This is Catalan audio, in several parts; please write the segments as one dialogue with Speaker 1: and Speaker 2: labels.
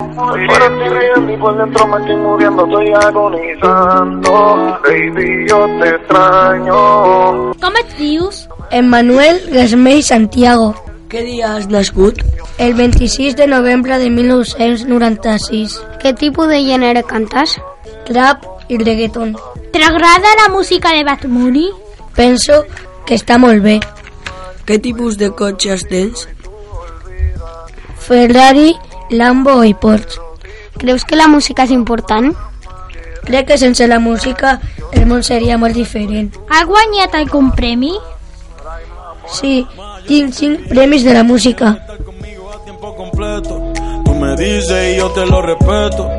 Speaker 1: Hoy pero estoy riendo y por dentro me estoy muriendo, estoy agonizando. Baby, yo te extraño.
Speaker 2: Com et dius?
Speaker 3: Emmanuel Gasmell Santiago,
Speaker 4: Què dia has nascut?
Speaker 3: el 26 de novembre de 1996.
Speaker 5: Què tipus de gènere cantes?
Speaker 3: Trap i reggaeton.
Speaker 2: T'agrada la música de Bad Bunny?
Speaker 3: Penso que està molt bé.
Speaker 4: Què tipus de cotxes tens?
Speaker 3: Ferrari, Lambo i Porsche.
Speaker 5: Creus que la música és important?
Speaker 3: Crec que sense la música el món seria molt diferent.
Speaker 2: Ha guanyat algun premi?
Speaker 3: Sí, tinc 5 premis de la música.
Speaker 6: conmigo a tiempo completo. Tú me dices y yo te lo respeto.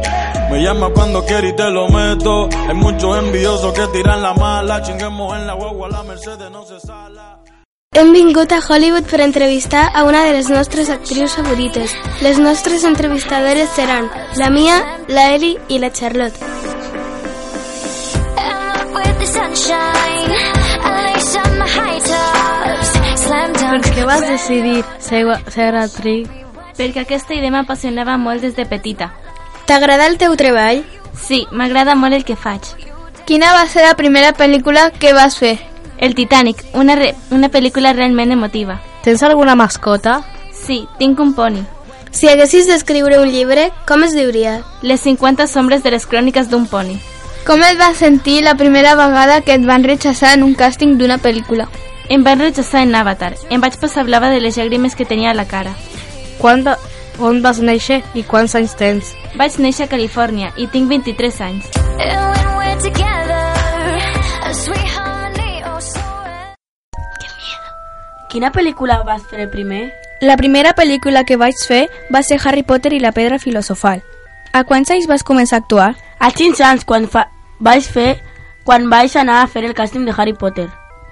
Speaker 6: Me llama cuando quiere y te lo meto. Hay muchos envidiosos que tiran la mala. Chinguemos en la guagua, la Mercedes no se sala.
Speaker 7: Hem vingut a Hollywood per entrevistar a una de les nostres actrius favorites. Les nostres entrevistadores seran la Mia, la Eli i la Charlotte.
Speaker 8: Per
Speaker 7: Doncs
Speaker 8: què vas decidir ser, ser actriu? Perquè aquesta idea m'apassionava molt des de petita.
Speaker 7: T'agrada el teu treball?
Speaker 8: Sí, m'agrada molt el que faig.
Speaker 7: Quina va ser la primera pel·lícula que vas fer?
Speaker 8: El Titanic, una, re una pel·lícula realment emotiva.
Speaker 9: Tens alguna mascota?
Speaker 8: Sí, tinc un poni.
Speaker 7: Si haguessis d'escriure un llibre, com es diria?
Speaker 8: Les 50 sombres de les cròniques d'un poni.
Speaker 7: Com et vas sentir la primera vegada que et van rechaçar en un càsting d'una pel·lícula?
Speaker 8: Em van rechaçar en Avatar. Em vaig passar blava de les llàgrimes que tenia a la cara.
Speaker 9: Quan de, on vas néixer i quants anys tens?
Speaker 8: Vaig néixer a Califòrnia i tinc 23 anys.
Speaker 4: Quina pel·lícula vas fer primer?
Speaker 7: La primera pel·lícula que vaig fer va ser Harry Potter i la pedra filosofal. A quants anys vas començar a actuar?
Speaker 4: A 5 anys, quan fa... vaig fer... quan vaig anar a fer el càsting de Harry Potter.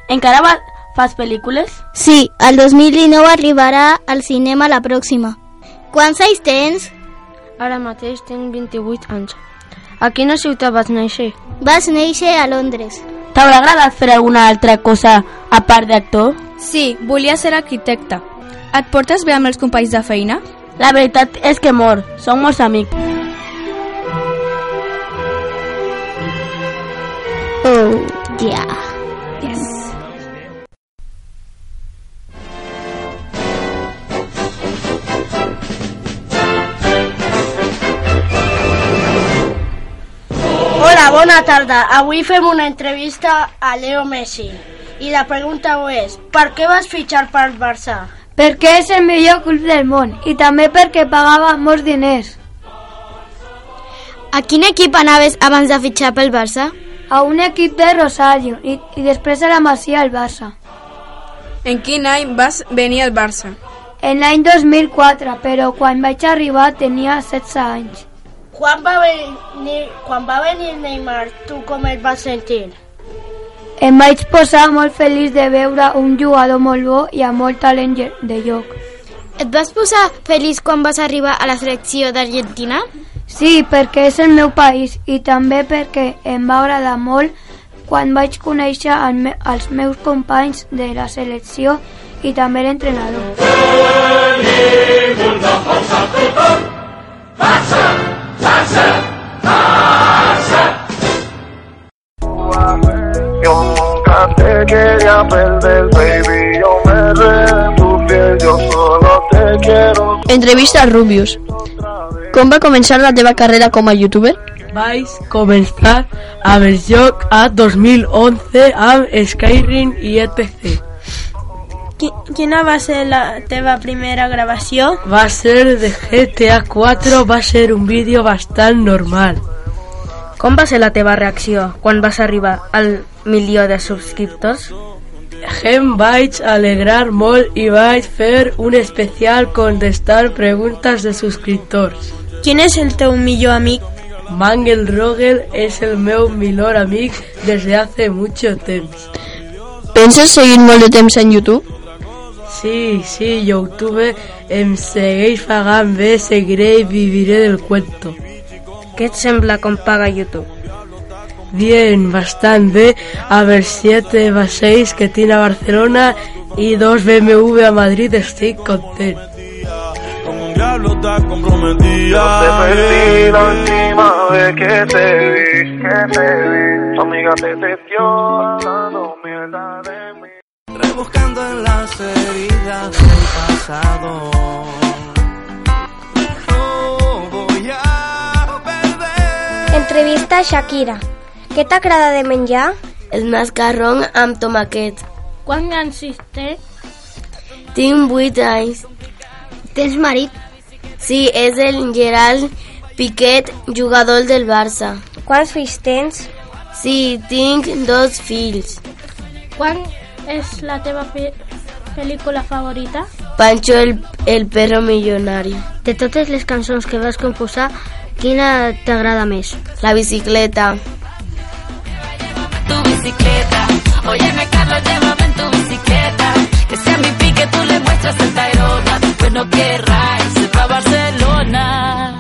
Speaker 4: Encara va... fas pel·lícules?
Speaker 5: Sí, el 2019 arribarà al cinema la pròxima. Quants anys tens?
Speaker 9: Ara mateix tinc 28 anys. A quina ciutat vas néixer?
Speaker 5: Vas néixer a Londres.
Speaker 4: T'haurà agradat fer alguna altra cosa a part d'actor?
Speaker 7: Sí, volia ser arquitecta. Et portes bé amb els companys de feina?
Speaker 4: La veritat és que mor, som molts amics.
Speaker 5: Oh, yeah.
Speaker 10: Hola, bona tarda. Avui fem una entrevista a Leo Messi. I la pregunta és, per què vas fitxar pel Barça?
Speaker 5: Perquè és el millor club del món i també perquè pagava molts diners. A quin equip anaves abans de fitxar pel Barça? A un equip de Rosario i, i després a la Masia al Barça.
Speaker 9: En quin any vas venir al Barça?
Speaker 5: En l'any 2004, però quan vaig arribar tenia 16 anys.
Speaker 10: Quan va venir, quan va venir Neymar, tu com et vas sentir?
Speaker 5: Em vaig posar molt feliç de veure un jugador molt bo i amb molt talent ge- de joc.
Speaker 7: Et vas posar feliç quan vas arribar a la selecció d'Argentina?
Speaker 5: Sí, perquè és el meu país i també perquè em va agradar molt quan vaig conèixer el me els meus companys de la selecció i també l'entrenador.
Speaker 1: Yo nunca te quería perder, baby. Yo me enredé en tu piel, yo solo te quiero
Speaker 3: Entrevista a Rubius. Com va començar la teva carrera com a youtuber?
Speaker 4: Vaig començar amb el joc a 2011 amb Skyrim i etc.
Speaker 7: Quina va ser la teva primera gravació?
Speaker 4: Va ser de GTA 4, va ser un vídeo bastant normal.
Speaker 9: Com va ser la teva reacció quan vas arribar al milió de subscriptors?
Speaker 4: Em vaig alegrar molt i vaig fer un especial contestar preguntes de subscriptors.
Speaker 7: Quin és el teu millor amic?
Speaker 4: Mangel Rogel és el meu millor amic des de hace mucho temps.
Speaker 3: Penses seguir molt de temps en YouTube?
Speaker 4: Sí, sí, YouTube em segueix pagant bé, seguiré i viviré del cuento.
Speaker 9: Què et sembla com paga YouTube?
Speaker 4: Bien, bastant bé, a ver 7 va 6 que tiene a Barcelona i dos BMW a Madrid, estic content.
Speaker 6: Como un
Speaker 11: diablo
Speaker 6: diablo
Speaker 11: está comprometida.
Speaker 6: Eh.
Speaker 1: Te perdí la última vez que te vi, que te vi. Tu amiga te testió hablando mierda de mí.
Speaker 6: Rebuscando en las heridas del pasado. No voy a perder.
Speaker 5: Entrevista a Shakira. Què t'agrada de menjar?
Speaker 7: El mascarrón amb tomaquet.
Speaker 12: Quan naciste? té?
Speaker 7: Tinc 8 anys. Tens marit? Sí, és el Gerald Piquet, jugador del Barça.
Speaker 5: Quants fills tens?
Speaker 7: Sí, tinc dos fills.
Speaker 12: Quan és la teva pe- pel·lícula favorita?
Speaker 7: Pancho el, el perro milionari.
Speaker 13: De totes les cançons que vas composar, quina t'agrada més?
Speaker 7: La bicicleta.
Speaker 8: tu bicicleta. Óyeme, Carlos, llévame en tu bicicleta. Que sea mi pique, tú le muestras el Tayrona. Bueno, que Rai se va a Barcelona.